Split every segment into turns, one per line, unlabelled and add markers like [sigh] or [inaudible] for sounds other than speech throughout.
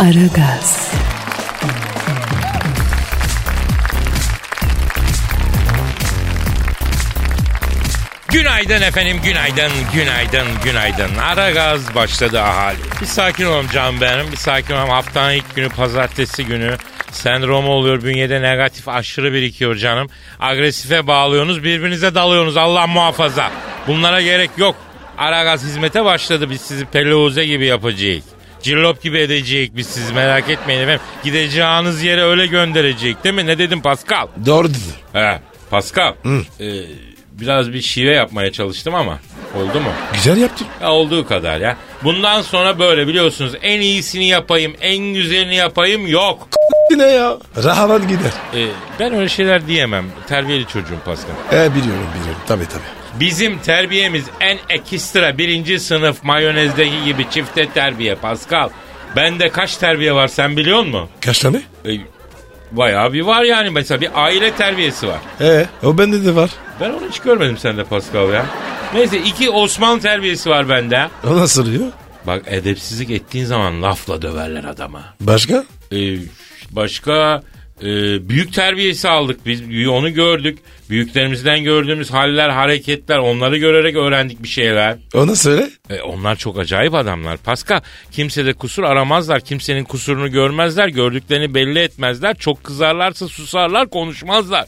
Aragaz,
Günaydın efendim, günaydın, günaydın, günaydın. Ara gaz başladı ahali. Bir sakin olalım canım benim, bir sakin olalım. Haftanın ilk günü pazartesi günü. Sendrom oluyor, bünyede negatif aşırı birikiyor canım. Agresife bağlıyorsunuz, birbirinize dalıyorsunuz Allah muhafaza. Bunlara gerek yok. Ara gaz hizmete başladı, biz sizi peluze gibi yapacağız. Cillop gibi edecek biz siz merak etmeyin efendim. Gideceğiniz yere öyle gönderecek değil mi? Ne dedim Pascal?
Doğru dedin.
He, Pascal. Ee, biraz bir şive yapmaya çalıştım ama oldu mu?
Güzel yaptın. [laughs]
Ya olduğu kadar ya. Bundan sonra böyle biliyorsunuz en iyisini yapayım, en güzelini yapayım yok.
Yine ya. Rahat gider.
Ee, ben öyle şeyler diyemem. Terbiyeli çocuğum Pascal.
E biliyorum biliyorum. Tabii tabii.
Bizim terbiyemiz en ekstra birinci sınıf mayonezdeki gibi çifte terbiye Pascal. Bende kaç terbiye var sen biliyor musun?
Kaç tane?
Ee, bayağı bir var yani mesela bir aile terbiyesi var.
E o bende de var.
Ben onu hiç görmedim sende Pascal ya. Neyse iki Osmanlı terbiyesi var bende.
O nasıl diyor?
Bak edepsizlik ettiğin zaman lafla döverler adama.
Başka?
Ee, başka e, büyük terbiyesi aldık biz. Büyü- Onu gördük. Büyüklerimizden gördüğümüz haller, hareketler onları görerek öğrendik bir şeyler.
Ona söyle.
E, onlar çok acayip adamlar. Paska kimsede kusur aramazlar. Kimsenin kusurunu görmezler. Gördüklerini belli etmezler. Çok kızarlarsa susarlar konuşmazlar.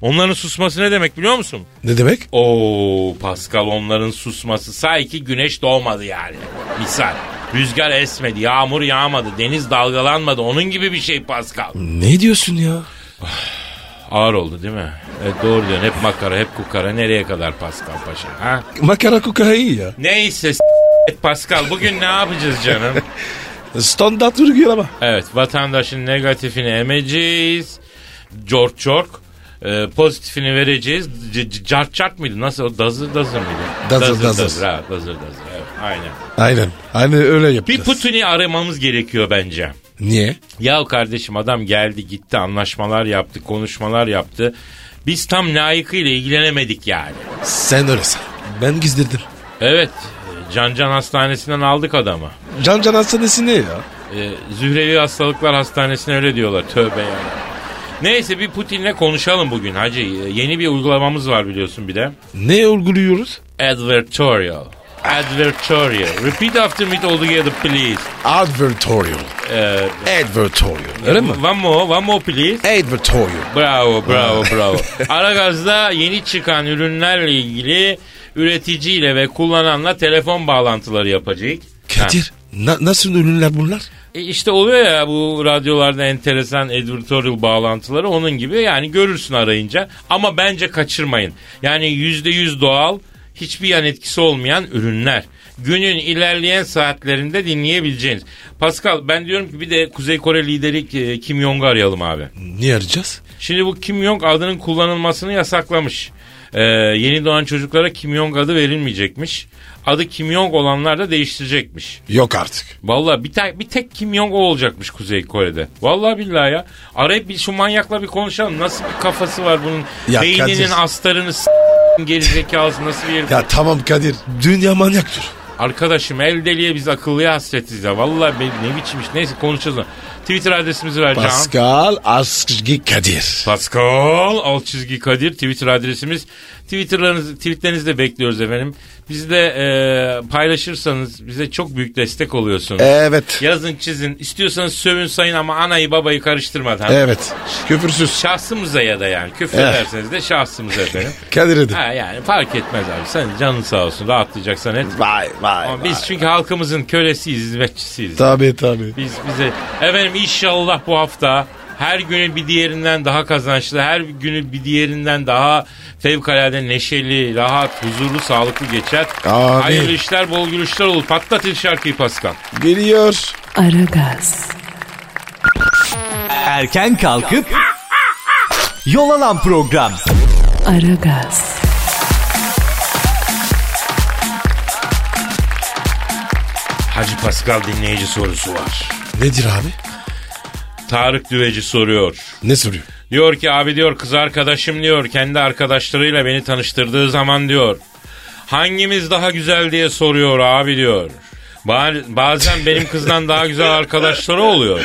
Onların susması ne demek biliyor musun?
Ne demek?
Oo Pascal onların susması sanki güneş doğmadı yani. Misal rüzgar esmedi, yağmur yağmadı, deniz dalgalanmadı. Onun gibi bir şey Pascal.
Ne diyorsun ya?
Ağır oldu değil mi? Evet doğru diyorsun. Hep makara, hep kukara. Nereye kadar Pascal Paşa? Ha?
Makara kuka iyi ya.
Neyse s- et Pascal bugün ne yapacağız
[laughs]
canım?
Standart vurgu ama.
Evet vatandaşın negatifini emeceğiz. Cork cork. Ee, pozitifini vereceğiz. C- c- cart cart mıydı? Nasıl? O dazır dazır mıydı?
Dazır dazır.
ha, dazır dazır. Evet, aynen.
Aynen. Aynen öyle yapacağız.
Bir Putin'i aramamız gerekiyor bence.
Niye?
Ya kardeşim adam geldi gitti anlaşmalar yaptı konuşmalar yaptı. Biz tam layıkıyla ilgilenemedik yani.
Sen öyle san. Ben gizledim.
Evet Can Can Hastanesi'nden aldık adamı.
Can Can hastanesi ne ya?
Ee, Zührevi Hastalıklar Hastanesi'ne öyle diyorlar tövbe yani. Neyse bir Putin'le konuşalım bugün hacı. Ee, Yeni bir uygulamamız var biliyorsun bir de.
Ne uyguluyoruz?
Advertorial. Advertorial. Repeat after me altogether please.
Advertorial.
Ee,
Advertorial. Öyle mi?
One more, one more please.
Advertorial.
Bravo, bravo, bravo. Aragaz'da yeni çıkan ürünlerle ilgili üreticiyle ve kullananla telefon bağlantıları yapacak. Ha.
Kadir na- nasıl ürünler bunlar?
E işte oluyor ya bu radyolarda enteresan editorial bağlantıları onun gibi yani görürsün arayınca ama bence kaçırmayın. Yani %100 doğal hiçbir yan etkisi olmayan ürünler. Günün ilerleyen saatlerinde dinleyebileceğiniz. Pascal ben diyorum ki bir de Kuzey Kore lideri e, Kim Jong'u arayalım abi.
Niye arayacağız?
Şimdi bu Kim Jong adının kullanılmasını yasaklamış. Ee, yeni doğan çocuklara Kim Jong adı verilmeyecekmiş. Adı Kim Jong olanlar da değiştirecekmiş.
Yok artık.
Vallahi bir, tek bir tek Kim Jong o olacakmış Kuzey Kore'de. Vallahi billahi ya. Arayıp bir şu manyakla bir konuşalım. Nasıl bir kafası var bunun?
Ya
Beyninin
Kadir.
astarını s- gerizekalısı nasıl bir herif?
Ya tamam Kadir. Dünya manyaktır.
Arkadaşım el deliye biz akıllıya hasretiz ya. Vallahi be- ne biçim iş. Neyse konuşacağız. onu. Twitter adresimizi vereceğim.
Pascal Askışgi Kadir.
Pascal alt çizgi Kadir Twitter adresimiz. Twitter'larınızı, tweetlerinizi de bekliyoruz efendim. Bizi de e, paylaşırsanız bize çok büyük destek oluyorsunuz.
Evet.
Yazın çizin. istiyorsanız sövün sayın ama anayı babayı karıştırmadan.
Evet. Küfürsüz.
Şahsımıza ya da yani küfür
Evet.
ederseniz de şahsımıza
[laughs]
efendim.
Kadir'e de.
ha yani fark etmez abi. Sen canın sağ olsun rahatlayacaksan et.
Vay vay.
Ama biz çünkü halkımızın kölesiyiz, hizmetçisiyiz.
Tabii tabii.
Biz bize efendim inşallah bu hafta Her günü bir diğerinden daha kazançlı, her günü bir diğerinden daha fevkalade neşeli, rahat, huzurlu, sağlıklı geçer.
Amin.
Hayırlı işler, bol gülüşler olur. Patlatın şarkıyı Pascal.
Geliyor.
Aragaz,
Erken kalkıp yol alan program.
Aragaz,
Hacı Pascal dinleyici sorusu var.
Nedir abi?
Tarık Düveci soruyor.
Ne soruyor?
Diyor ki abi diyor kız arkadaşım diyor kendi arkadaşlarıyla beni tanıştırdığı zaman diyor. Hangimiz daha güzel diye soruyor abi diyor. Ba- Bazen benim kızdan daha güzel arkadaşları oluyor.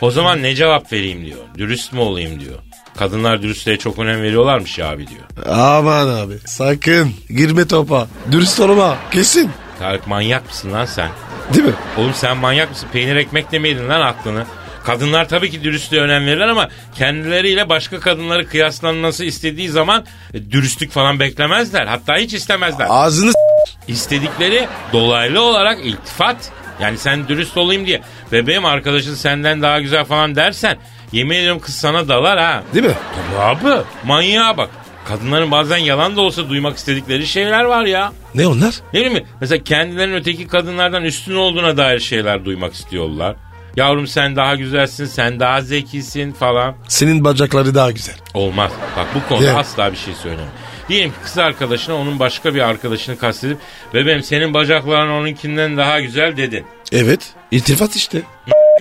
O zaman ne cevap vereyim diyor. Dürüst mü olayım diyor. Kadınlar dürüstlüğe çok önem veriyorlarmış ya abi diyor.
Aman abi. Sakın girme topa. Dürüst olma. Kesin.
Tarık manyak mısın lan sen?
Değil mi?
Oğlum sen manyak mısın? Peynir ekmek demeydin lan aklını. Kadınlar tabii ki dürüstlüğe önem verirler ama kendileriyle başka kadınları kıyaslanması istediği zaman e, dürüstlük falan beklemezler. Hatta hiç istemezler.
Ağzını s-
İstedikleri dolaylı olarak iltifat. Yani sen dürüst olayım diye bebeğim arkadaşın senden daha güzel falan dersen yemin ediyorum kız sana dalar ha.
Değil mi?
Tabii abi manyağa bak. Kadınların bazen yalan da olsa duymak istedikleri şeyler var ya.
Ne onlar?
Ne bileyim mi? mesela kendilerinin öteki kadınlardan üstün olduğuna dair şeyler duymak istiyorlar. Yavrum sen daha güzelsin, sen daha zekisin falan.
Senin bacakları daha güzel.
Olmaz. Bak bu konuda
Evet.
asla bir şey söyleme. Diyelim ki kız arkadaşına onun başka bir arkadaşını kastedip bebeğim senin bacakların onunkinden daha güzel dedin. [laughs]
Evet. İltifat işte.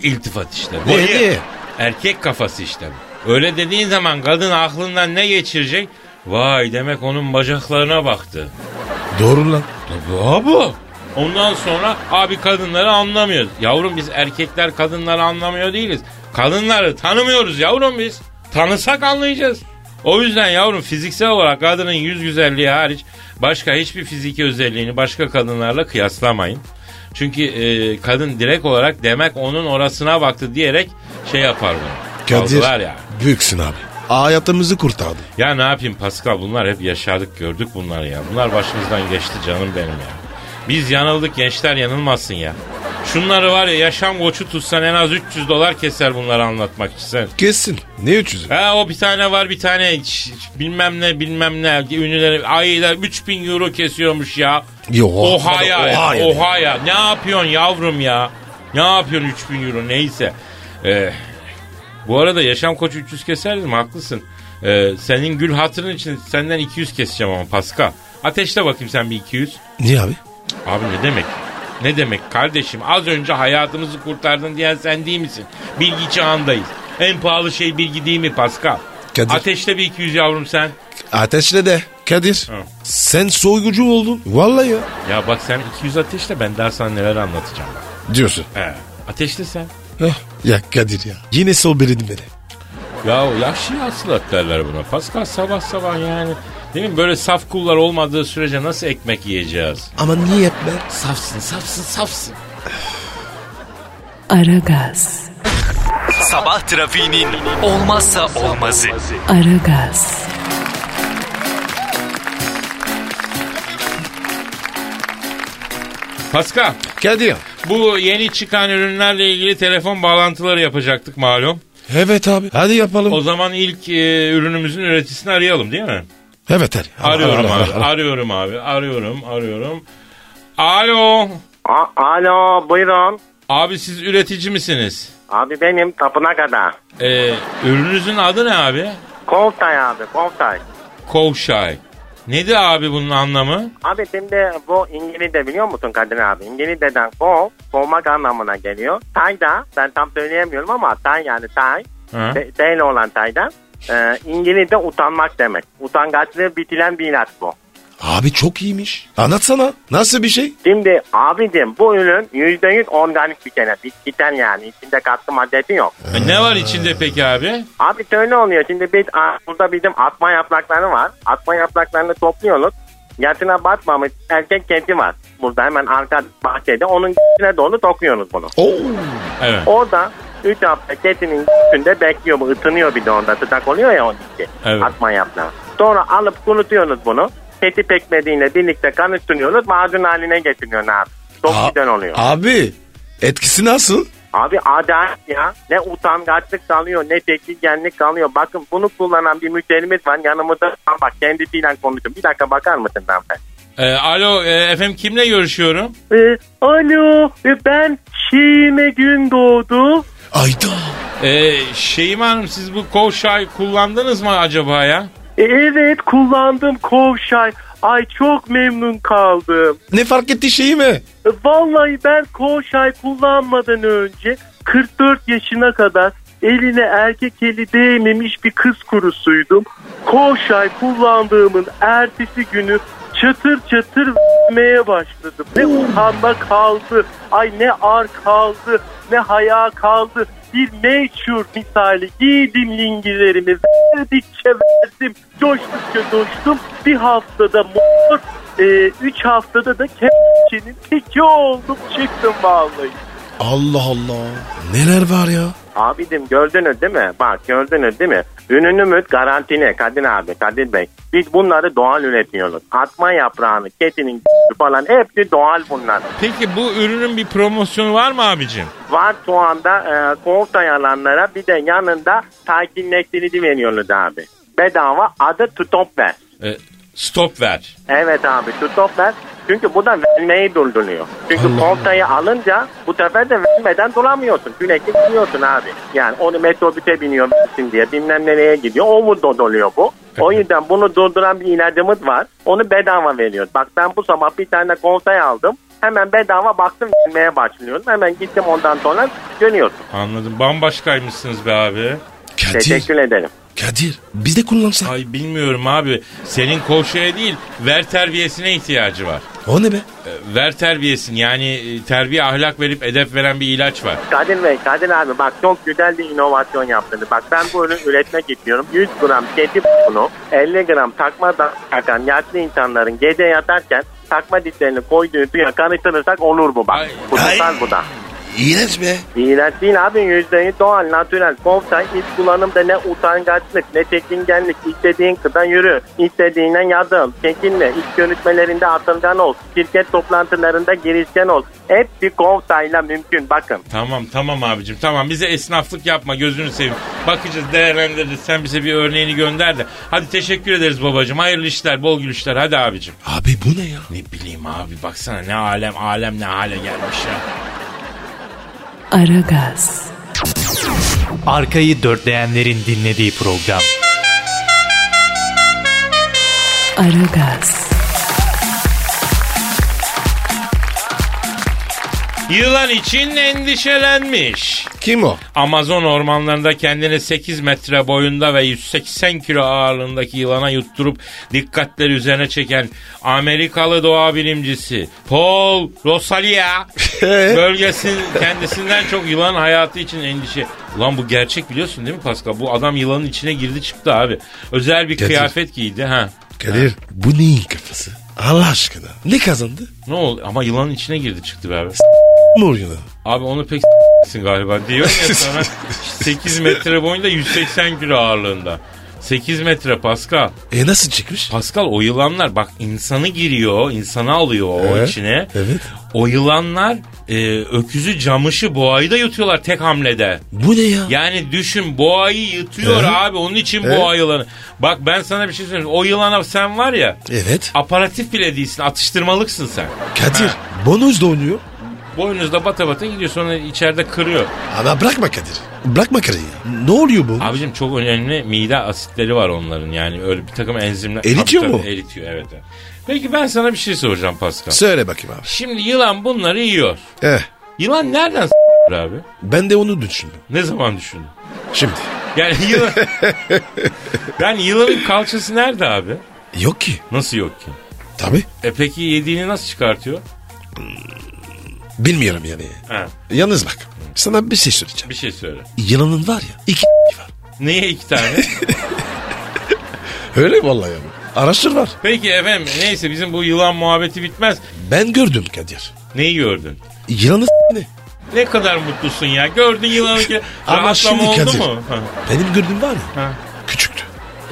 İltifat işte.
Ne,
Niye?
ne?
Erkek kafası işte bu. Öyle dediğin zaman kadın aklından ne geçirecek? Vay demek onun bacaklarına baktı.
Doğru lan.
Tabii abi. Ondan sonra abi kadınları anlamıyoruz. Yavrum biz erkekler kadınları anlamıyor değiliz. Kadınları tanımıyoruz yavrum biz. Tanısak anlayacağız. O yüzden yavrum fiziksel olarak kadının yüz güzelliği hariç başka hiçbir fiziki özelliğini başka kadınlarla kıyaslamayın. Çünkü e, kadın direkt olarak demek onun orasına baktı diyerek şey yapar bunu.
Kadir.
Algılar ya.
Büyüksün abi. Hayatımızı kurtardı.
Ya ne yapayım Pascal bunlar hep yaşadık gördük bunları ya. Bunlar başımızdan geçti canım benim ya. Biz yanıldık gençler yanılmasın ya. Şunları var ya yaşam koçu tutsan en az 300 dolar keser bunları anlatmak için. sen.
Kesin. Ne 300'ü?
Ha o bir tane var bir tane ç- ç- bilmem ne bilmem ne ünlüleri aylar 3000 euro kesiyormuş ya.
Yo,
oha ya.
oha
Oha
ya.
ya. Ne yapıyorsun yavrum ya? Ne yapıyorsun 3000 euro neyse. Ee, bu arada yaşam koçu 300 keser mi? Haklısın. Ee, senin gül hatırın için senden 200 keseceğim ama Pascal. Ateşle bakayım sen bir 200.
Niye abi?
Abi ne demek? Ne demek kardeşim? Az önce hayatımızı kurtardın diyen sen değil misin? Bilgi çağındayız. En pahalı şey bilgi değil mi Pascal?
Kadir.
Ateşte bir 200 yavrum sen.
Ateşle de. Kadir.
Hı.
Sen soygucu oldun. Vallahi ya.
Ya bak sen 200 ateşle ben daha sana neler anlatacağım. Bak.
Diyorsun.
He. Ateşle sen.
Heh. Ya Kadir ya. Yine sobeledin beni.
Ya yaşlı hasılat derler buna. Pascal sabah sabah yani. Değil mi? Böyle saf kullar olmadığı sürece nasıl ekmek yiyeceğiz?
Ama niye etme?
Safsın, safsın, safsın.
Aragaz,
Sabah trafiğinin olmazsa olmazı.
Aragaz,
Pascal,
Kadir.
bu yeni çıkan ürünlerle ilgili telefon bağlantıları yapacaktık malum.
Evet abi. Hadi yapalım.
O zaman ilk e, ürünümüzün üreticisini arayalım değil mi?
evet hadi.
Arıyorum
Ara, ara,
abi,
ara.
arıyorum abi, arıyorum, arıyorum. Alo,
A- Alo buyurun.
abi siz üretici misiniz?
Abi benim tapınak ada.
Ee, ürününüzün adı ne abi?
Kovtay abi kovtay.
Kovşay. Nedir abi bunun anlamı?
Abi şimdi bu İngilizce biliyor musun Kadir abi? İngilizce'den kov, kovmak anlamına geliyor. Tay da ben tam söyleyemiyorum ama tay yani tay.
Ha?
De, deyle olan tayda. Ee, İngilizce utanmak demek. Utangaçlığı bitilen bir ilaç bu.
Abi çok iyiymiş. Anlatsana. Nasıl bir şey?
Şimdi abicim bu ürün %100 organik bir kere. Bitkiden yani içinde katkı maddesi yok.
E, Ne var içinde peki abi?
Abi şöyle oluyor. Şimdi biz a- burada bizim atma yaprakları var. Atma yapraklarını topluyoruz. Yatına batmamış erkek kedi var. Burada hemen arka bahçede onun içine dolu dokuyoruz bunu.
Oo.
Evet,
Orada 3 hafta kedinin üstünde bekliyor bu ıtınıyor bir de orada tıtak oluyor ya onun içi.
Evet.
Atma yaprağı. Sonra alıp kurutuyoruz bunu. Kedi pekmediğiyle birlikte karıştırıyoruz. Macun haline getiriyorsun abi. Çok
A-
güzel oluyor.
Abi etkisi nasıl?
Abi adalet ya. Ne utangaçlık kalıyor ne çekingenlik kalıyor. Bakın bunu kullanan bir müşterimiz var yanımızda. Ha Bak kendisiyle konuşuyor. Bir dakika bakar mısın ben?
Ee, alo e, efendim kimle görüşüyorum?
alo e ben Şime Gündoğdu.
Ayda.
Ee, Şeyma Hanım siz bu kovşay kullandınız mı acaba ya?
e, Evet kullandım Kovşay. Ay çok memnun kaldım.
Ne fark etti şeyi mi?
Vallahi ben Kovşay kullanmadan önce 44 yaşına kadar eline erkek eli değmemiş bir kız kurusuydum. Kovşay kullandığımın ertesi günü çatır çatır [laughs] meye başladım. Ne utanma kaldı, ay ne ar kaldı, ne haya kaldı. Bir meçhur misali giydim lingilerimi, verdikçe verdim, coştukça coştum. Bir haftada mor, e, üç haftada da kepçenin teki oldum çıktım vallahi.
Allah Allah. Neler var ya?
Abidim gördünüz değil mi? Bak gördünüz değil mi? Ününümüz garantine Kadir abi, Kadir Bey. Biz bunları doğal üretiyoruz. Atma yaprağını, ketinin falan hepsi doğal bunlar.
Peki bu ürünün bir promosyonu var mı abicim?
Var şu anda e, kovta yalanlara bir de yanında sakinleştirici veriyoruz abi. Bedava adı Tutopver.
Ee, stop ver.
Evet abi Tutopver. Çünkü bu da vermeyi durduruyor. Çünkü kovtayı alınca bu sefer de vermeden duramıyorsun. Sürekli gidiyorsun abi. Yani onu metrobüse biniyor versin diye bilmem nereye gidiyor. Overdose oluyor bu. O yüzden bunu durduran bir ilacımız var. Onu bedava veriyoruz. Bak ben bu sabah bir tane kovtay aldım. Hemen bedava baktım vermeye başlıyorum. Hemen gittim ondan sonra dönüyorsun.
Anladım bambaşkaymışsınız be abi.
Teşekkür ederim.
Kadir. Biz de kullansak.
Ay bilmiyorum abi senin kovşaya değil ver terbiyesine ihtiyacı var.
O ne be?
Ee, ver terbiyesin yani e, terbiye ahlak verip edep veren bir ilaç var.
Kadir Bey, Kadir abi bak çok güzel bir inovasyon yaptınız. Bak ben bu ürünü üretmek istiyorum. 100 gram kedi bunu 50 gram takma da- takan yaşlı insanların gece yatarken takma dişlerini koyduğu suya karıştırırsak olur bu bak.
Ay.
Bu tutar
Ay.
bu da.
İğrenç be.
İğrenç değil abi %100 doğal, natürel. Kovtay iç kullanımda ne utangaçlık, ne çekingenlik. İstediğin kıdan yürü, istediğinden yardım, çekinme. İş görüşmelerinde atılgan ol, şirket toplantılarında girişken ol. Hepsi kovtayla mümkün bakın.
Tamam tamam abicim tamam bize esnaflık yapma gözünü seveyim. Bakacağız değerlendireceğiz sen bize bir örneğini gönder de. Hadi teşekkür ederiz babacım hayırlı işler bol gülüşler hadi abicim.
Abi bu ne ya?
Ne bileyim abi baksana ne alem alem ne hale gelmiş ya.
Aragaz,
Arkayı dörtleyenlerin dinlediği program.
Aragaz,
Yılan için endişelenmiş.
Kim o?
Amazon ormanlarında kendini 8 metre boyunda ve 180 kilo ağırlığındaki yılana yutturup dikkatleri üzerine çeken Amerikalı doğa bilimcisi Paul Rosalia
Ee?
bölgesin kendisinden çok yılan hayatı için endişe. Lan bu gerçek biliyorsun değil mi Pascal? Bu adam yılanın içine girdi çıktı abi. Özel bir
Kadir.
kıyafet giydi ha.
Kadir. Bu neyin kafası? Allah aşkına. Ne kazandı?
Ne oldu? Ama yılanın içine girdi çıktı be abi.
Mı oyunu?
Abi onu pek s**sin galiba diyor ya sana
[laughs]
8 metre boyunda 180 kilo ağırlığında. 8 metre Pascal.
E nasıl çıkmış?
Pascal o yılanlar bak insanı giriyor, insanı alıyor o
Evet,
içine.
evet.
O yılanlar e, öküzü, camışı, boğayı da yutuyorlar tek hamlede.
Bu ne ya?
Yani düşün boğayı yutuyor
Evet.
abi onun için
Evet.
boğa yılanı. Bak ben sana bir şey söyleyeyim. O yılana sen var ya
Evet.
aparatif bile değilsin atıştırmalıksın sen.
Kadir.
Ha.
Bonus da oynuyor.
Boynuzda bata bata gidiyor sonra içeride kırıyor.
Ama bırakma Kadir. Bırakma Kadir'i. Ne oluyor bu?
Abicim çok önemli mide asitleri var onların yani öyle bir takım enzimler.
Eritiyor
Tabii,
mu?
tabii, Eritiyor evet. evet. Peki ben sana bir şey soracağım Pascal.
Söyle bakayım abi.
Şimdi yılan bunları yiyor.
Eh,
Yılan nereden s**tir abi?
ben de onu düşündüm.
Ne zaman düşündün?
Şimdi.
Yani yılan...
[laughs]
yani yılanın kalçası nerede abi?
Yok ki.
Nasıl yok ki?
Tabii.
E peki yediğini nasıl çıkartıyor?
Bilmiyorum yani.
Ha,
Yalnız bak. Sana bir şey söyleyeceğim.
bir şey söyle.
Yılanın var ya. iki [laughs] var.
Niye iki tane?
Öyle mi vallahi abi. Araştır var.
[laughs] peki efendim neyse bizim bu yılan muhabbeti bitmez.
Ben gördüm Kadir.
Neyi gördün?
Yılanı s- ne?
Ne kadar mutlusun ya. Gördün yılanı ki [laughs]
Ama
rahatlama
şimdi
oldu
Kadir-
mu? Ha.
Benim gördüğüm var ya.
Ha.
Küçüktü.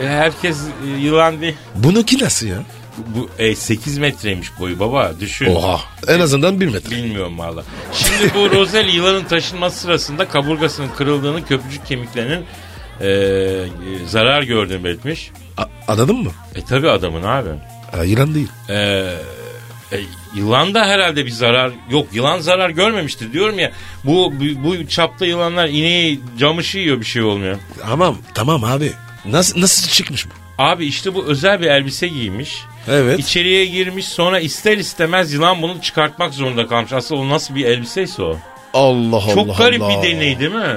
E, Herkes e, yılan değil.
Bununki nasıl ya?
Bu e, 8 metreymiş boyu baba düşün.
Oha. En azından bir metre.
Bilmiyorum valla. Şimdi bu Rozel yılanın taşınması sırasında kaburgasının kırıldığını, köprücük kemiklerinin e, e, zarar gördüğünü belirtmiş.
A- anladın mı?
E tabi adamın abi.
Ha, yılan değil.
E, e, yılan da herhalde bir zarar yok. Yılan zarar görmemiştir diyorum ya. Bu bu, bu çapta yılanlar ineği camışı yiyor bir şey olmuyor.
Tamam tamam abi. Nasıl nasıl çıkmış bu?
Abi işte bu özel bir elbise giymiş.
Evet.
İçeriye girmiş sonra ister istemez yılan bunu çıkartmak zorunda kalmış. Aslında o nasıl bir elbiseyse o.
Allah Allah
Çok garip
Allah.
bir deney değil mi?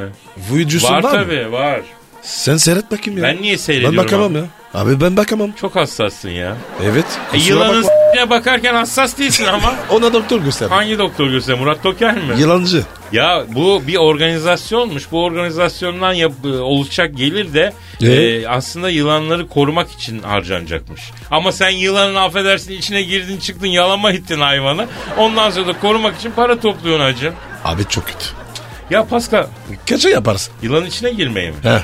Vücusundan
var
mı?
tabii var.
Sen seyret bakayım ya.
Ben niye
Ben
seyrediyorum?
bakamam
abi?
ya. Abi ben bakamam.
Çok hassassın ya.
Evet.
E,
kusura
yılanın
bakma.
s***ine bakarken hassas değilsin ama.
Ona doktor göster.
Hangi doktor göster? Murat Toker mi?
Yılancı.
Ya bu bir organizasyonmuş. Bu organizasyondan yap- e, oluşacak gelir de
E?
e, aslında yılanları korumak için harcanacakmış. Ama sen yılanın affedersin içine girdin çıktın yalama ettin hayvanı. Ondan sonra da korumak için para topluyorsun hacı.
Abi çok kötü.
Ya Pascal
Kaça yaparsın?
yılanın içine girmeyi mi?
He.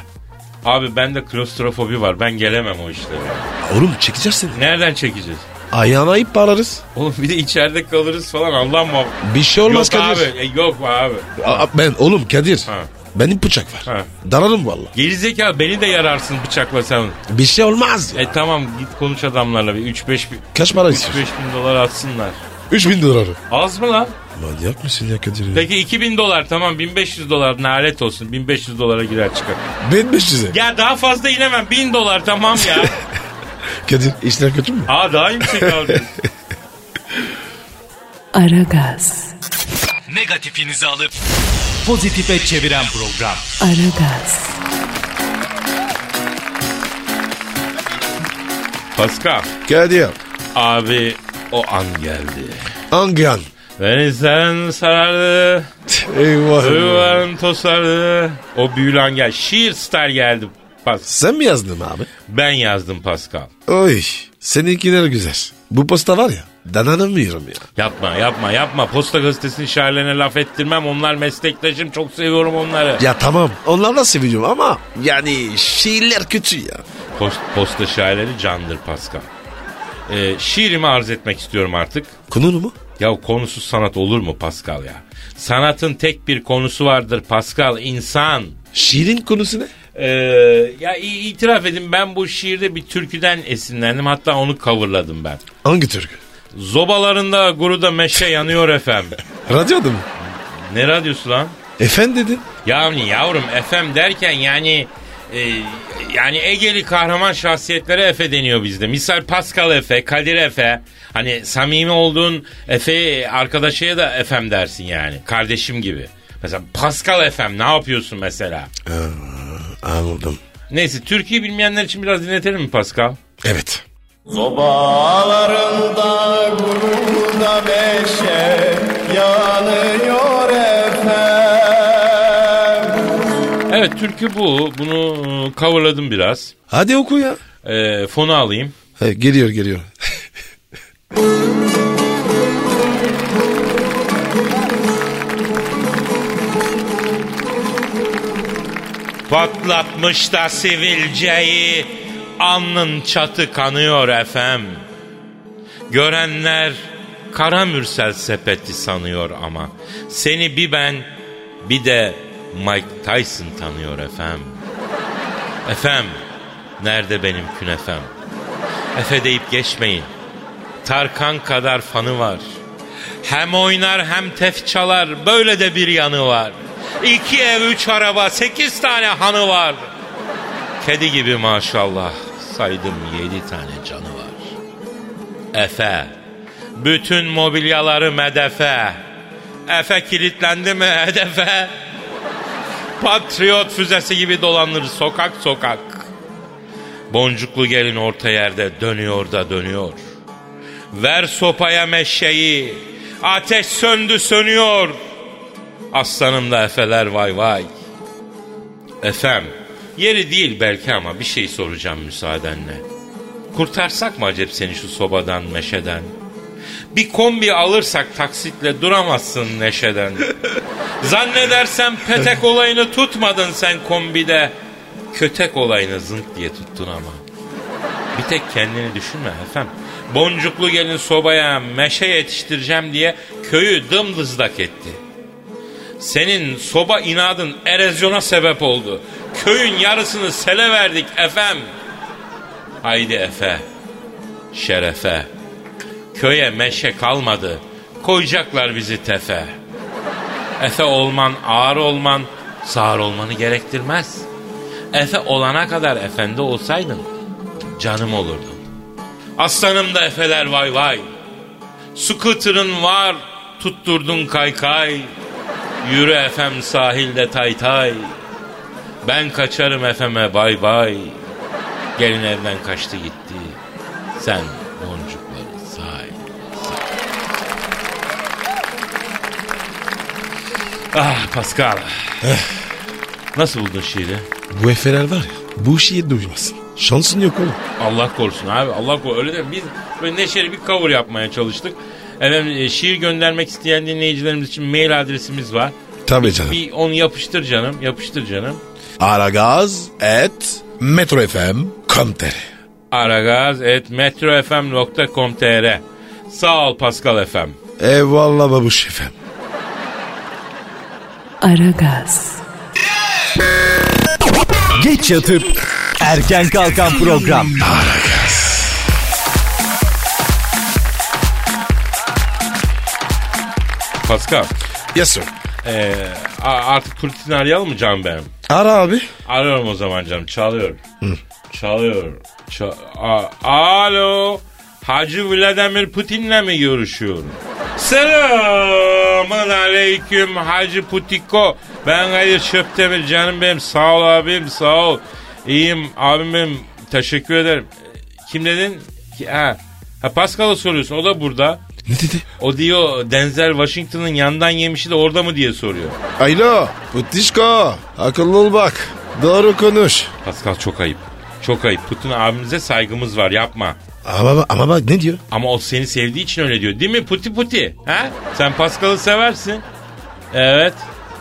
Abi bende klostrofobi var. Ben gelemem o işlere.
Oğlum çekeceksin.
Nereden çekeceğiz?
Ayağına ip bağlarız.
Oğlum bir de içeride kalırız falan Allah muhafaza.
Bir şey olmaz
yok
Kadir.
abi. e, yok abi.
Aa, ben oğlum Kadir.
Ha.
Benim bıçak var.
Ha.
Dararım valla.
Gerizekalı beni de yararsın bıçakla sen.
Bir şey olmaz.
E tamam git konuş adamlarla bir 3-5 bin,
Kaç para
3
istiyorsun?
bin dolar atsınlar.
3000 doları.
Az mı lan?
Manyak mısın ya Kadir? ya?
Peki 2000 dolar tamam 1500 dolar nalet olsun 1500 dolara girer çıkar.
1500'e.
Ya daha fazla inemem 1000 dolar tamam ya.
Kadir işler kötü mü?
Aa daha yüksek aldın.
Aragaz,
Negatifinizi alıp pozitife çeviren program.
Aragaz,
Pascal
Kadir.
abi o an geldi.
Angan.
Beni sen sarardı.
[laughs] Eyvah.
Duyguların tosardı. O büyülü an geldi. Şiir style geldi. Pas.
Sen mi yazdın abi?
Ben yazdım Pascal.
Oy. Seninkiler güzel. Bu posta var ya. Dananamıyorum ya.
Yapma yapma yapma. Posta gazetesinin şairlerine laf ettirmem. Onlar meslektaşım. Çok seviyorum onları.
Ya tamam. Onlarla seviyorum ama yani şiirler kötü ya.
Post, posta şairleri candır Pascal. Ee, şiirimi arz etmek istiyorum artık.
Konulu mu?
Ya konusuz sanat olur mu Pascal ya? Sanatın tek bir konusu vardır Pascal. insan.
Şiirin konusu ne?
Ee, ya i- itiraf edin ben bu şiirde bir türküden esinlendim. Hatta onu coverladım ben.
Hangi türkü?
Zobalarında guruda meşe yanıyor efendim.
Radyoda mı?
Ne radyosu lan?
Efendim dedin.
Yani yavrum FM derken yani e, yani Egeli kahraman şahsiyetlere Efe deniyor bizde. Misal Pascal Efe, Kadir Efe. Hani samimi olduğun Efe arkadaşıya da FM dersin yani. Kardeşim gibi. Mesela Pascal Efem ne yapıyorsun mesela?
Anladım.
Neyse Türkiye bilmeyenler için biraz dinletelim mi Pascal?
Evet.
Sobalarında gururda beşe yanıyor efem.
Evet türkü bu. Bunu e, coverladım biraz.
Hadi oku ya.
E, fonu alayım.
He, geliyor geliyor.
Patlatmış da sivilceyi Alnın çatı kanıyor efem Görenler kara mürsel sepeti sanıyor ama Seni bir ben bir de Mike Tyson tanıyor efem Efem nerede benim künefem Efe deyip geçmeyin Tarkan kadar fanı var. Hem oynar hem tef çalar böyle de bir yanı var. İki ev üç araba sekiz tane hanı var. Kedi gibi maşallah saydım yedi tane canı var. Efe bütün mobilyaları medefe. Efe kilitlendi mi [laughs] hedefe. Patriot füzesi gibi dolanır sokak sokak. Boncuklu gelin orta yerde dönüyor da dönüyor. Ver sopaya meşeyi. Ateş söndü sönüyor. Aslanım da efeler vay vay. Efem, yeri değil belki ama bir şey soracağım müsaadenle. Kurtarsak mı acep seni şu sobadan, meşeden? Bir kombi alırsak taksitle duramazsın neşeden. Zannedersem petek olayını tutmadın sen kombide. Kötek olayını zınk diye tuttun ama. Bir tek kendini düşünme efem. Boncuklu gelin sobaya meşe yetiştireceğim diye köyü dımdızlak etti. Senin soba inadın erozyona sebep oldu. Köyün yarısını sele verdik efem. Haydi efe, şerefe. Köye meşe kalmadı. Koyacaklar bizi tefe. Efe olman, ağır olman, sağır olmanı gerektirmez. Efe olana kadar efendi olsaydın canım olurdun. Aslanım da efeler vay vay. Scooter'ın var tutturdun kaykay. Yürü efem sahilde tay tay. Ben kaçarım efeme bay bay. Gelin evden kaçtı gitti. Sen boncukları say. Ah Pascal. Nasıl buldun şiiri?
Bu efeler var ya bu işi yedi uymasın. Şansın yok oğlum.
Allah korusun abi Allah korusun öyle de biz böyle neşeli bir cover yapmaya çalıştık. Efendim e, şiir göndermek isteyen dinleyicilerimiz için mail adresimiz var.
Tabii canım.
Bir onu yapıştır canım yapıştır canım.
Aragaz et metrofm.com.tr
aragaz.metrofm.com.tr Sağ ol Pascal efem.
Eyvallah babuş efem.
Aragaz,
Geç yatıp erken kalkan program.
Pascal
Yes sir.
e, a- artık Turtin'i arayalım mı canım benim?
Ara abi.
Arıyorum o zaman canım çalıyorum. Çalıyorum. Ça- A- Alo. Hacı Vladimir Putin'le mi görüşüyorum? Selamun aleyküm Hacı Putiko. Ben Kadir Çöptemir canım benim. Sağ ol abim sağ ol. İyiyim abim benim. Teşekkür ederim. Kim dedin? Ki- Ha, ha Pascal'a soruyorsun o da burada.
Ne dedi?
O diyor Denzel Washington'ın yandan yemişi de orada mı diye soruyor.
Alo. Putişko. Akıllı ol bak. Doğru konuş.
Pascal çok ayıp. Çok ayıp. Putin abimize saygımız var yapma.
Ama, ama bak ne diyor?
Ama o seni sevdiği için öyle diyor. Değil mi puti puti? Ha? Sen Pascal'ı seversin. Evet.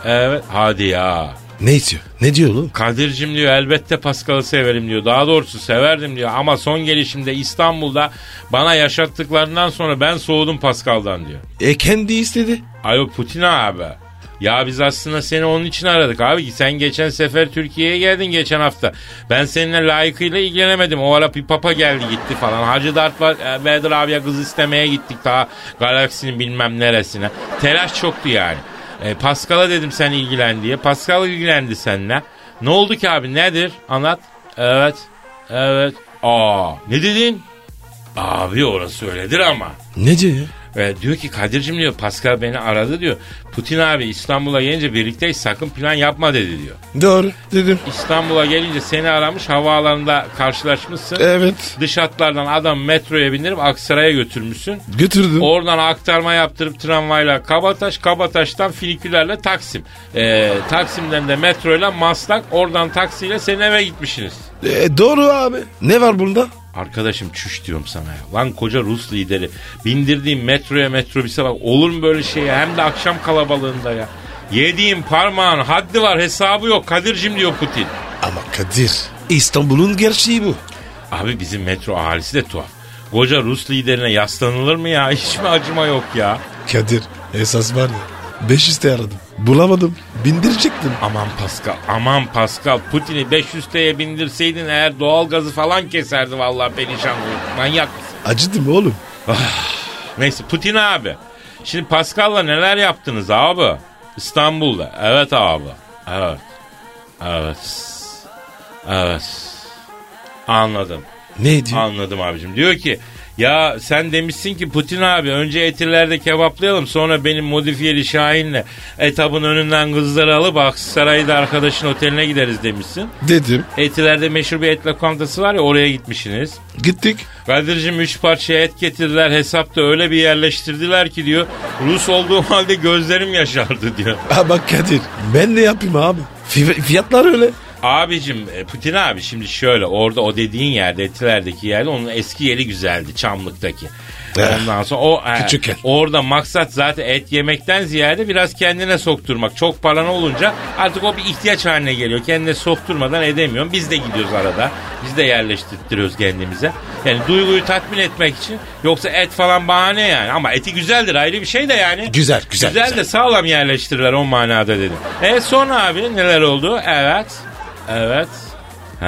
Evet. Hadi ya.
Ne istiyor? Ne diyor oğlum?
Kadir'cim diyor elbette Pascal'ı severim diyor. Daha doğrusu severdim diyor. Ama son gelişimde İstanbul'da bana yaşattıklarından sonra ben soğudum Pascal'dan diyor.
E kendi istedi.
Alo Putin abi. Ya biz aslında seni onun için aradık abi. Sen geçen sefer Türkiye'ye geldin geçen hafta. Ben seninle layıkıyla ilgilenemedim. O ara bir papa geldi gitti falan. Hacı Dert var. e, Vedir abiye kız istemeye gittik daha galaksinin bilmem neresine. Telaş çoktu yani. E, Pascal'a dedim sen ilgilen diye. Pascal ilgilendi seninle. Ne oldu ki abi nedir? Anlat. Evet. Evet. Aa ne dedin? Abi orası öyledir ama.
Ne diyor ya?
Ve diyor ki Kadir'cim diyor Pascal beni aradı diyor. Putin abi İstanbul'a gelince birlikteyiz sakın plan yapma dedi diyor.
Doğru dedim.
İstanbul'a gelince seni aramış havaalanında karşılaşmışsın.
Evet.
Dış hatlardan adam metroya bindirip Aksaray'a götürmüşsün.
Götürdüm.
Oradan aktarma yaptırıp tramvayla Kabataş, Kabataş'tan filikülerle Taksim. Ee, Taksim'den de metroyla Maslak, oradan taksiyle senin eve gitmişsiniz.
E, doğru abi. Ne var bunda?
Arkadaşım çüş diyorum sana ya. Lan koca Rus lideri. Bindirdiğim metroya metrobüse bak. Olur mu böyle şey ya? Hem de akşam kalabalığında ya. Yediğim parmağın haddi var hesabı yok. Kadir'cim diyor Putin.
Ama Kadir. İstanbul'un gerçeği bu.
Abi bizim metro ahalisi de tuhaf. Koca Rus liderine yaslanılır mı ya? [laughs] Hiç mi acıma yok ya?
Kadir. Esas var ya. 500 de aradım. Bulamadım. Bindirecektim.
Aman Pascal, aman Pascal. Putin'i 500T'ye bindirseydin eğer doğalgazı falan keserdi vallahi perişan olurdu. Manyak mısın?
Acıdım oğlum.
Neyse Putin abi. Şimdi Pascal'la neler yaptınız abi? İstanbul'da. Evet abi. Evet. Evet. Evet. Anladım.
Ne diyor?
Anladım abicim. Diyor ki ya sen demişsin ki Putin abi önce etirlerde kebaplayalım sonra benim modifiyeli Şahin'le etabın önünden kızları alıp Aksaray'da arkadaşın oteline gideriz demişsin.
Dedim.
Etilerde meşhur bir et lokantası var ya oraya gitmişsiniz.
Gittik.
Kadir'cim üç parça et getirdiler hesapta öyle bir yerleştirdiler ki diyor. Rus olduğum halde gözlerim yaşardı diyor.
Ama Kadir. Ben ne yapayım abi? Fi- Fiyatlar öyle.
Abicim e, Putin abi şimdi şöyle orada o dediğin yerde etilerdeki yerde onun eski yeri güzeldi Çamlık'taki.
Eh,
Ondan sonra o e,
küçükken.
orada maksat zaten et yemekten ziyade biraz kendine sokturmak. Çok paran olunca artık o bir ihtiyaç haline geliyor. Kendine sokturmadan edemiyorsun. Biz de gidiyoruz arada. Biz de yerleştiriyoruz kendimize. Yani duyguyu tatmin etmek için. Yoksa et falan bahane yani. Ama eti güzeldir ayrı bir şey de yani.
Güzel, güzel,
Güzel,
güzel.
de sağlam yerleştirirler o manada dedim. E sonra abi neler oldu? Evet. Evet. Ha,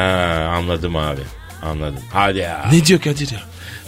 anladım abi. Anladım. Hadi ya.
Ne diyor Kadir ya?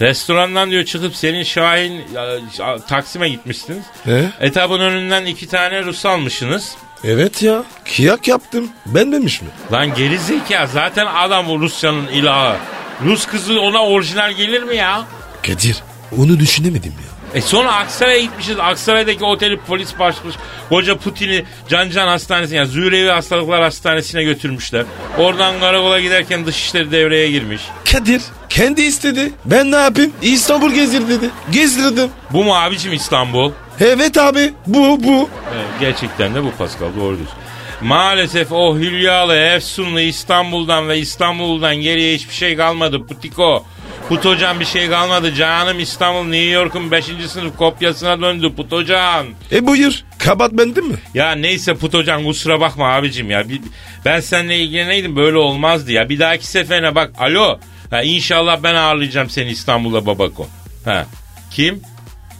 Restorandan diyor çıkıp senin Şahin ya, Ş- Taksim'e gitmişsiniz.
E?
Etabın önünden iki tane Rus almışsınız.
Evet ya. Kıyak yaptım. Ben demiş mi?
Lan geri zeka zaten adam bu Rusya'nın ilahı. Rus kızı ona orijinal gelir mi ya?
Kadir. Onu düşünemedim ya.
E sonra Aksaray'a gitmişiz. Aksaray'daki oteli polis basmış. Koca Putin'i Can Can Hastanesi'ne yani Zührevi Hastalıklar Hastanesi'ne götürmüşler. Oradan karakola giderken dışişleri devreye girmiş.
Kadir kendi istedi. Ben ne yapayım? İstanbul gezdir dedi. Gezdirdim.
Bu mu abicim İstanbul?
Evet abi. Bu bu.
Evet, gerçekten de bu Pascal doğru diyorsun. Maalesef o hülyalı efsunlu İstanbul'dan ve İstanbul'dan geriye hiçbir şey kalmadı Putiko. Putocan bir şey kalmadı. Canım İstanbul New York'un 5. sınıf kopyasına döndü Putocan.
E buyur. Kabat bende mi?
Ya neyse Putocan kusura bakma abicim ya. Bir- ben seninle ilgileneydim böyle olmazdı ya. Bir dahaki seferine bak. Alo. Ha, inşallah ben ağırlayacağım seni İstanbul'a babako. Ha. Kim?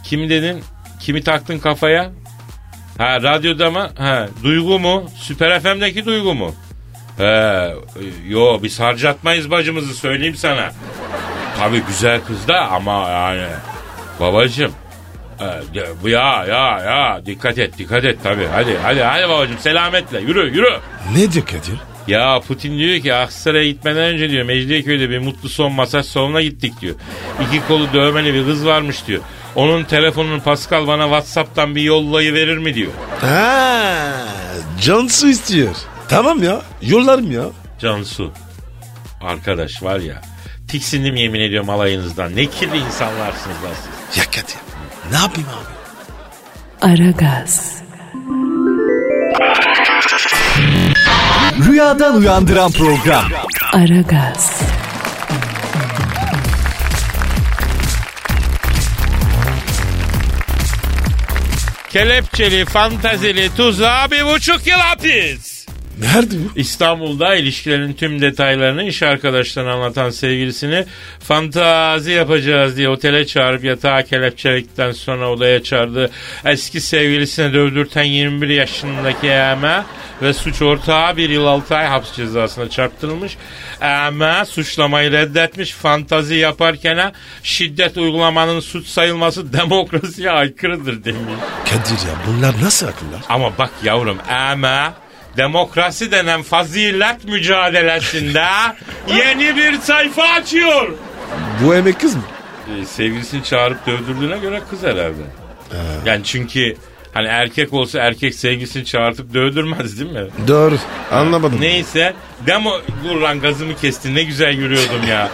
Kim dedin? Kimi taktın kafaya? Ha radyoda mı? Ha Duygu mu? Süper FM'deki Duygu mu? He, yo biz harcatmayız bacımızı söyleyeyim sana. Tabii güzel kız da ama yani babacım e, de- bu ya ya ya dikkat et dikkat et tabii hadi hadi hadi babacım selametle yürü yürü.
Ne diyor Kadir?
Ya Putin diyor ki Aksaray'a gitmeden önce diyor Mecidiyeköy'de bir mutlu son masaj salonuna gittik diyor. İki kolu dövmeli bir kız varmış diyor. Onun telefonunu Pascal bana Whatsapp'tan bir yollayı verir mi diyor.
Ha, Cansu istiyor. Tamam ya. Yollarım ya.
Cansu. Arkadaş var ya. Tiksindim yemin ediyorum alayınızdan. Ne kirli insanlarsınız lan siz.
Ya Kadir. Ne yapayım abi?
Aragaz,
Rüyadan uyandıran program.
Aragaz,
Kelepçeli, fantazili, tuzağı bir buçuk yıl hapis.
Nerede bu?
İstanbul'da ilişkilerin tüm detaylarını iş arkadaşlarına anlatan sevgilisini fantazi yapacağız diye otele çağırıp yatağa kelepçelikten sonra odaya çağırdı. Eski sevgilisine dövdürten 21 yaşındaki Eme ve suç ortağı bir yıl 6 ay hapis cezasına çarptırılmış. Eme suçlamayı reddetmiş. Fantazi yaparken ha, şiddet uygulamanın suç sayılması demokrasiye aykırıdır demiş.
Kadir ya bunlar nasıl akıllar?
Ama bak yavrum ama demokrasi denen fazilet mücadelesinde yeni bir sayfa açıyor.
Bu emek kız mı?
Ee, sevgilisini çağırıp dövdürdüğüne göre kız herhalde. Yani çünkü hani erkek olsa erkek sevgilisini çağırtıp dövdürmez değil mi?
Doğru. Anlamadım.
Neyse demo dur lan gazımı kestin ne güzel yürüyordum ya.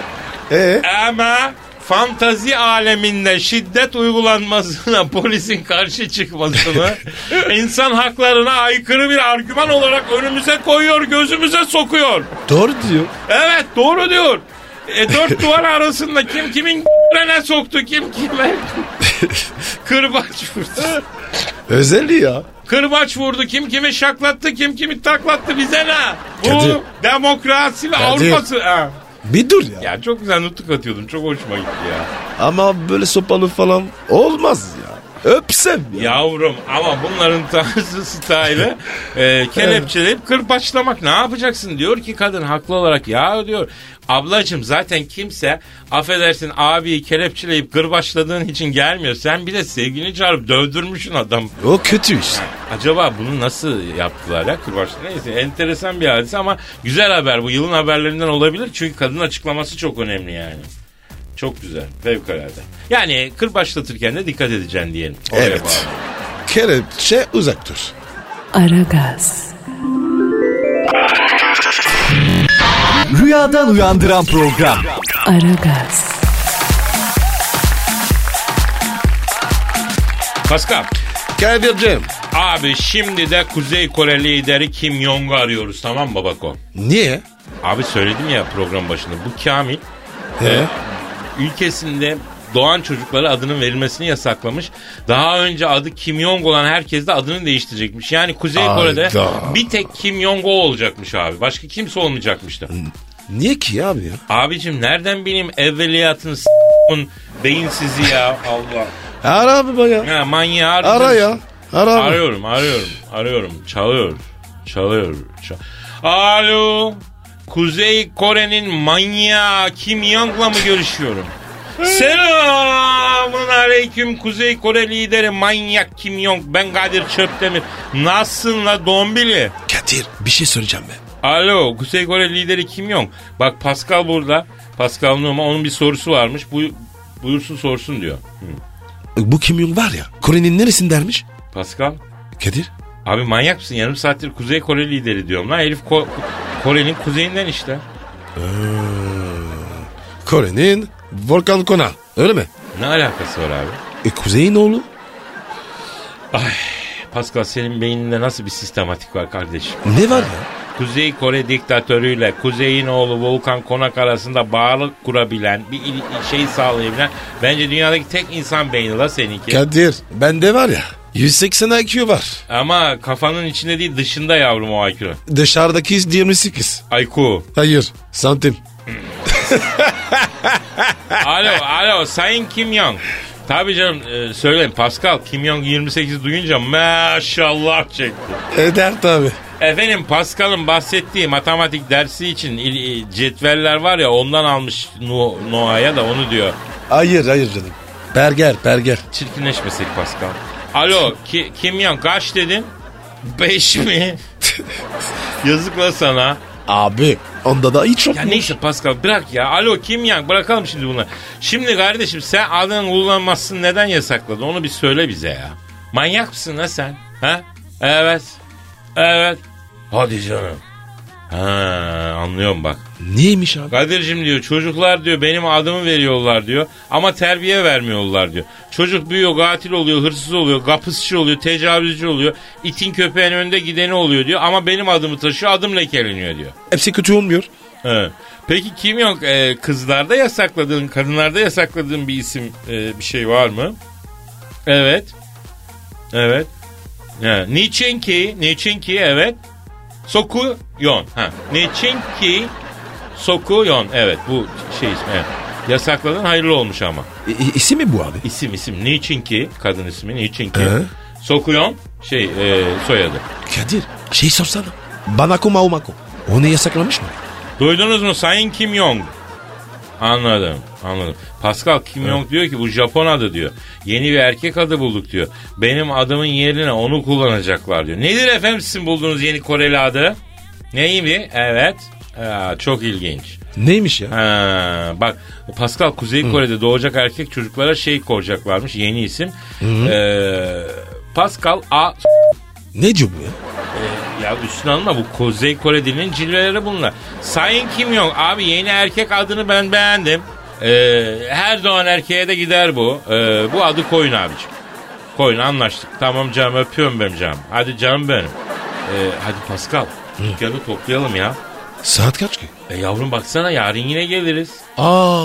Ee?
Ama fantazi aleminde şiddet uygulanmasına [laughs] polisin
[laughs]
karşı çıkmasını insan haklarına aykırı bir argüman olarak önümüze koyuyor, gözümüze sokuyor.
Doğru diyor.
Evet doğru diyor.
[laughs]
E, dört duvar arasında kim kimin [laughs] ne soktu,
[laughs]
kim kime kırbaç vurdu.
Özelliği ya.
Kırbaç vurdu, kim kimi şaklattı, kim kimi taklattı bize ne? Bu
Kadir.
demokrasi ve
Kadir.
Avrupa'sı. Ha.
Bir dur ya.
Ya çok güzel nutuk atıyordum, çok hoşuma gitti ya.
Ama böyle sopalı falan olmaz ya. Öpsem ya.
Yavrum ama bunların [laughs] tarzı style'ı e, kelepçeleyip kırbaçlamak ne yapacaksın diyor ki kadın haklı olarak ya diyor ablacım zaten kimse affedersin abiyi kelepçeleyip kırbaçladığın için gelmiyor sen bir de sevgini çağırıp dövdürmüşsün adam
O kötü işte.
acaba bunu nasıl yaptılar ya kırbaçla neyse enteresan bir hadise ama güzel haber bu yılın haberlerinden olabilir çünkü kadın açıklaması çok önemli yani. Çok güzel. Fevkalade. Yani kırbaçlatırken de dikkat edeceksin diyelim. Oraya
Evet.
bağlı.
Kelepçe uzak dur.
Aragaz,
Rüyadan uyandıran program.
Aragaz,
Pascal.
Kadir'cim.
Abi şimdi de Kuzey Kore lideri Kim Jong'u arıyoruz tamam mı babako?
Niye?
Abi söyledim ya program başında bu Kamil
He?
ülkesinde doğan çocuklara adının verilmesini yasaklamış. Daha önce adı Kim Jong olan herkes de adını değiştirecekmiş. Yani Kuzey
Ayda.
Kore'de bir tek Kim Jong-o olacakmış abi. Başka kimse olmayacakmıştı.
Niye ki abi ya?
Abicim nereden bileyim evveliyatın s*** beyinsizliği ya Allah.
Ara abi bana ya.
Ya manyağı harbiden-
Ara ya. Ara abi.
Arıyorum, arıyorum, arıyorum. Çalıyor, çalıyor. çal- Alo. Kuzey Kore'nin manyağı Kim Jong'la mı görüşüyorum? Selamun aleyküm Kuzey Kore lideri manyak Kim Jong. Ben Kadir Çöptemir. Nasılsın la dombili?
Kadir bir şey söyleyeceğim ben.
Alo Kuzey Kore lideri Kim Jong. Bak Pascal burada. Pascal Numa onun bir sorusu varmış. Bu buyursun sorsun diyor. Hı.
Bu Kim Jong var ya Kore'nin neresindermiş?
Pascal
Kadir.
Abi manyak mısın? Yarım saattir Kuzey Kore lideri diyorum lan. Herif Ko- Kore'nin kuzeyinden işte.
Kore'nin volkan konağı öyle mi?
Ne alakası var abi?
E kuzeyin oğlu.
Pascal senin beyninde nasıl bir sistematik var kardeşim?
Ne var ya?
Kuzey Kore diktatörüyle Kuzey'in oğlu Volkan Konak arasında bağlılık kurabilen, bir il- şey sağlayabilen bence dünyadaki tek insan beyni la seninki.
Kadir bende var ya 180 IQ var.
Ama kafanın içinde değil dışında yavrum o IQ.
Dışarıdaki 28.
IQ.
Hayır santim.
alo, alo Sayın Kim Jong. Tabii canım e, söyleyin Pascal Kim Jong 28 duyunca maşallah çekti.
Eder tabi.
Efendim Pascal'ın bahsettiği matematik dersi için il- il- cetveller var ya ondan almış Nu- Noah'ya da onu diyor.
Hayır hayır canım. Berger berger.
Çirkinleşmesek Pascal. Alo ki, Kimyon kaç dedin? Beş mi? [laughs] Yazık lan sana.
Abi onda da hiç yok.
Ya neyse Pascal bırak ya. Alo Kimyon bırakalım şimdi bunları. Şimdi kardeşim sen adını kullanmazsın neden yasakladın onu bir söyle bize ya. Manyak mısın lan sen? Ha? Evet. Evet. Hadi canım. Ha anlıyorum bak.
Neymiş abi?
Kadir'cim diyor çocuklar diyor benim adımı veriyorlar diyor ama terbiye vermiyorlar diyor. Çocuk büyüyor katil oluyor hırsız oluyor kapısçı oluyor tecavüzcü oluyor itin köpeğin önünde gideni oluyor diyor ama benim adımı taşıyor adım lekeleniyor diyor.
Hepsi kötü olmuyor.
Evet. Peki kim yok e, kızlarda yasakladığın kadınlarda yasakladığın bir isim e, bir şey var mı? Evet. Evet. Ha. Niçin ki? Niçin ki? Evet. Soku yon. Ha. Niçin ki? Soku yon. Evet bu şey ismi. Evet. Yasakladın hayırlı olmuş ama.
isi E, mi bu abi?
İsim isim. Niçin ki? Kadın ismi. Niçin ki?
Ee?
Sokuyon şey e, soyadı.
Kadir şey sorsana. Banako maumako. Onu yasaklamış mı?
Duydunuz mu Sayın Kim Jong? Anladım, anladım. Pascal Kim Jong diyor ki bu Japon adı diyor. Yeni bir erkek adı bulduk diyor. Benim adımın yerine onu kullanacaklar diyor. Nedir efendim sizin bulduğunuz yeni Koreli adı? Neyimi? Evet. Aa, çok ilginç.
Neymiş ya?
Ha, bak Pascal Kuzey Kore'de doğacak erkek çocuklara şey koyacaklarmış yeni isim. Ee, Pascal A
Ne diyor bu ya?
ya üstüne alma bu Kuzey Kore dilinin cilveleri bunlar. Sayın Kim Jong abi yeni erkek adını ben beğendim. Ee, her doğan erkeğe de gider bu. Ee, bu adı koyun abicim. Koyun anlaştık. Tamam canım öpüyorum benim canım. Hadi canım benim. Ee, hadi Pascal dükkanı toplayalım ya.
Saat kaç ki?
E yavrum baksana yarın yine geliriz.
Aa,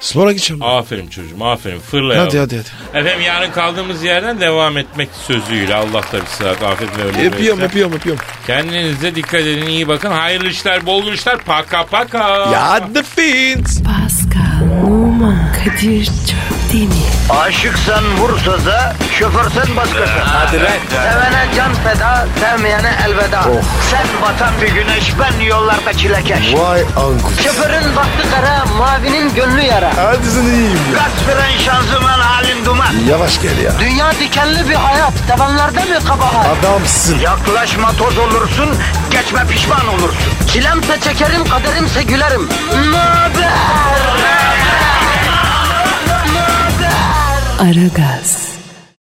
spora gideceğim.
Aferin çocuğum aferin fırla yavrum.
hadi hadi hadi.
Efendim yarın kaldığımız yerden devam etmek sözüyle. Allah da bir sıhhat afet ve ömür
Öpüyorum
versin.
öpüyorum öpüyorum.
Kendinize dikkat edin iyi bakın. Hayırlı işler, bol işler. Paka paka.
Ya the fins.
Pascal, Oman, Kadir çok değil mi?
Aşıksan vursa da, şoförsen başkasın. Hadi Sevene can feda, sevmeyene elveda. Sen batan bir güneş, ben yollarda çilekeş.
Oh. Vay anku.
Şoförün baktı kara, mavinin gönlü yara.
Hadi sen iyiyim ya.
Kasperen şanzıman halin duman.
Yavaş gel ya.
Dünya dikenli bir hayat, sevenlerde mi kabahar?
Adamsın.
Yaklaşma toz olursun, geçme pişman olursun. Çilemse çekerim, kaderimse gülerim. Möber!
Aragaz.